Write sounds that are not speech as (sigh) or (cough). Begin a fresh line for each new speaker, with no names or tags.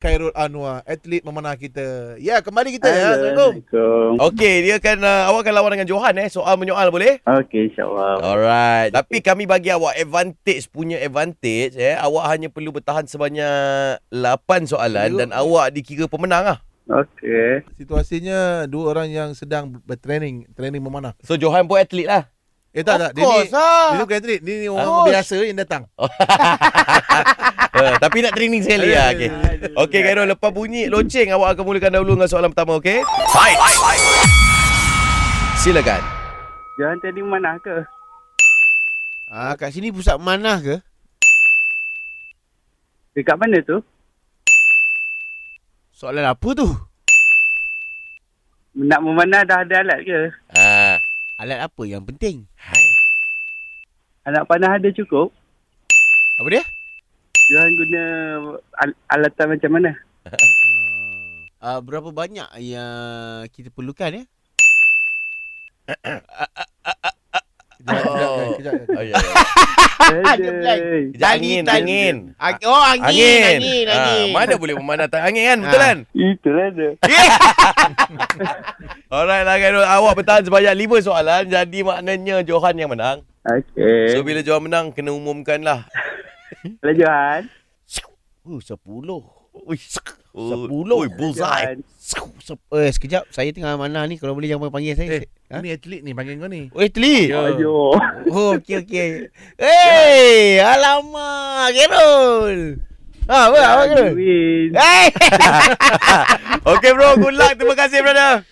Khairul Anwar, atlet memanah kita. Ya, kembali kita ya. Assalamualaikum.
Assalamualaikum.
Okey, dia akan uh, awak akan lawan dengan Johan eh. Soal menyoal boleh?
Okey, insyaAllah.
Alright. Tapi kami bagi awak advantage punya advantage eh. Awak hanya perlu bertahan sebanyak 8 soalan dan awak dikira pemenang lah.
Okey.
Situasinya dua orang yang sedang bertraining, training memanah.
So Johan pun atlet
(laughs)
lah.
Eh tak tak, dia ni
course lah.
dia tu bukan atlet, dia ni orang
Course.
biasa yang datang.
uh, tapi nak training sekali lah. Okey. Okey Khairul, lepas bunyi loceng awak akan mulakan dahulu dengan soalan pertama, okey? Fight. Silakan.
Johan tadi mana ke?
Ah, kat sini pusat manah ke?
Dekat mana tu?
Soalan apa tu?
Nak memanah dah ada alat ke?
Ah.
Alat apa yang penting?
Hai.
Anak panah ada cukup?
Apa dia?
Johan guna al- alatan macam mana?
Ah, berapa banyak yang kita perlukan ya?
Kejap, kejap,
Oh.
kejap, kejap.
Oh, ya, ya.
(laughs) (laughs) Dia blank.
Aduh.
Kejap,
Tadi,
angin,
tadi.
angin.
Ah, oh, angin, angin, angin.
Ah, mana boleh memanah tak angin kan? Betul
Ah.
kan?
Itulah
(laughs)
dia.
Alright lah Khairul. Awak bertahan sebanyak 5 soalan. Jadi maknanya Johan yang menang.
Okey.
So bila Johan menang, kena umumkan lah.
Hello Johan.
Oh, sepuluh.
Ui, sk- oh,
Sepuluh.
Ui, bullseye.
Johan.
Sekup, sep- eh, sekejap. Saya tengah manah ni. Kalau boleh jangan panggil saya.
Eh,
Eh. Ha?
ni atlet ni panggil kau ni.
Oi, Tli.
Ya. Ayo.
(laughs) Oh, okey, okey. Hey, alamak. Gerul. Ah, apa? Apa, Gerul?
Win.
Hey!
Okay bro, good luck. Terima kasih brother.